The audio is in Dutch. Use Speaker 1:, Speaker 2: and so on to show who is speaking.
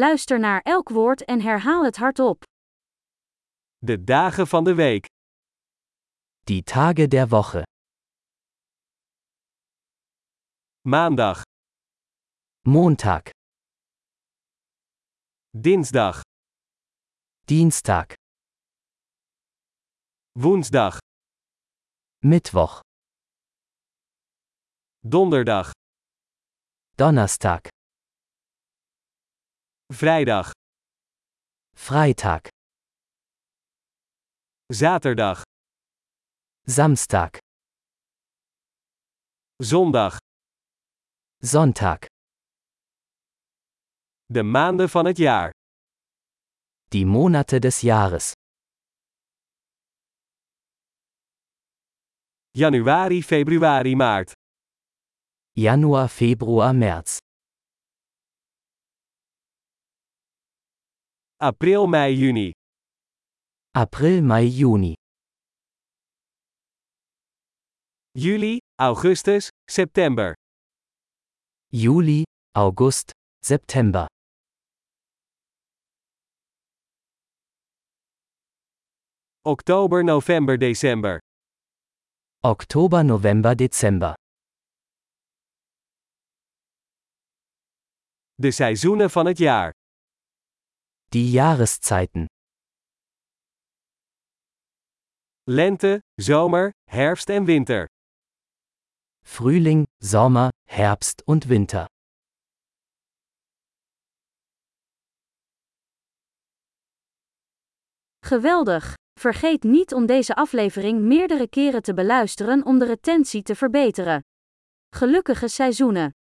Speaker 1: Luister naar elk woord en herhaal het hardop.
Speaker 2: De dagen van de week.
Speaker 3: Die Tage der Woche.
Speaker 2: Maandag,
Speaker 3: Montag,
Speaker 2: dinsdag,
Speaker 3: Dienstag,
Speaker 2: woensdag,
Speaker 3: Mittwoch,
Speaker 2: donderdag,
Speaker 3: Donnerstag,
Speaker 2: vrijdag,
Speaker 3: Freitag,
Speaker 2: zaterdag,
Speaker 3: Samstag,
Speaker 2: zondag.
Speaker 3: Sonntag.
Speaker 2: De maanden van het jaar.
Speaker 3: Die Monate des Jahres.
Speaker 2: Januari, februari, maart.
Speaker 3: Januar, Februar, März.
Speaker 2: April, mei, juni.
Speaker 3: April, Mai, Juni.
Speaker 2: Juli, augustus, september.
Speaker 3: Juli, August, September.
Speaker 2: Oktober, november, december.
Speaker 3: Oktober, November, Dezember.
Speaker 2: De seizoenen van het jaar.
Speaker 3: Die Jahreszeiten.
Speaker 2: Lente, zomer, herfst en winter.
Speaker 3: Frühling, Sommer, Herbst und Winter.
Speaker 1: Geweldig! Vergeet niet om deze aflevering meerdere keren te beluisteren om de retentie te verbeteren. Gelukkige seizoenen!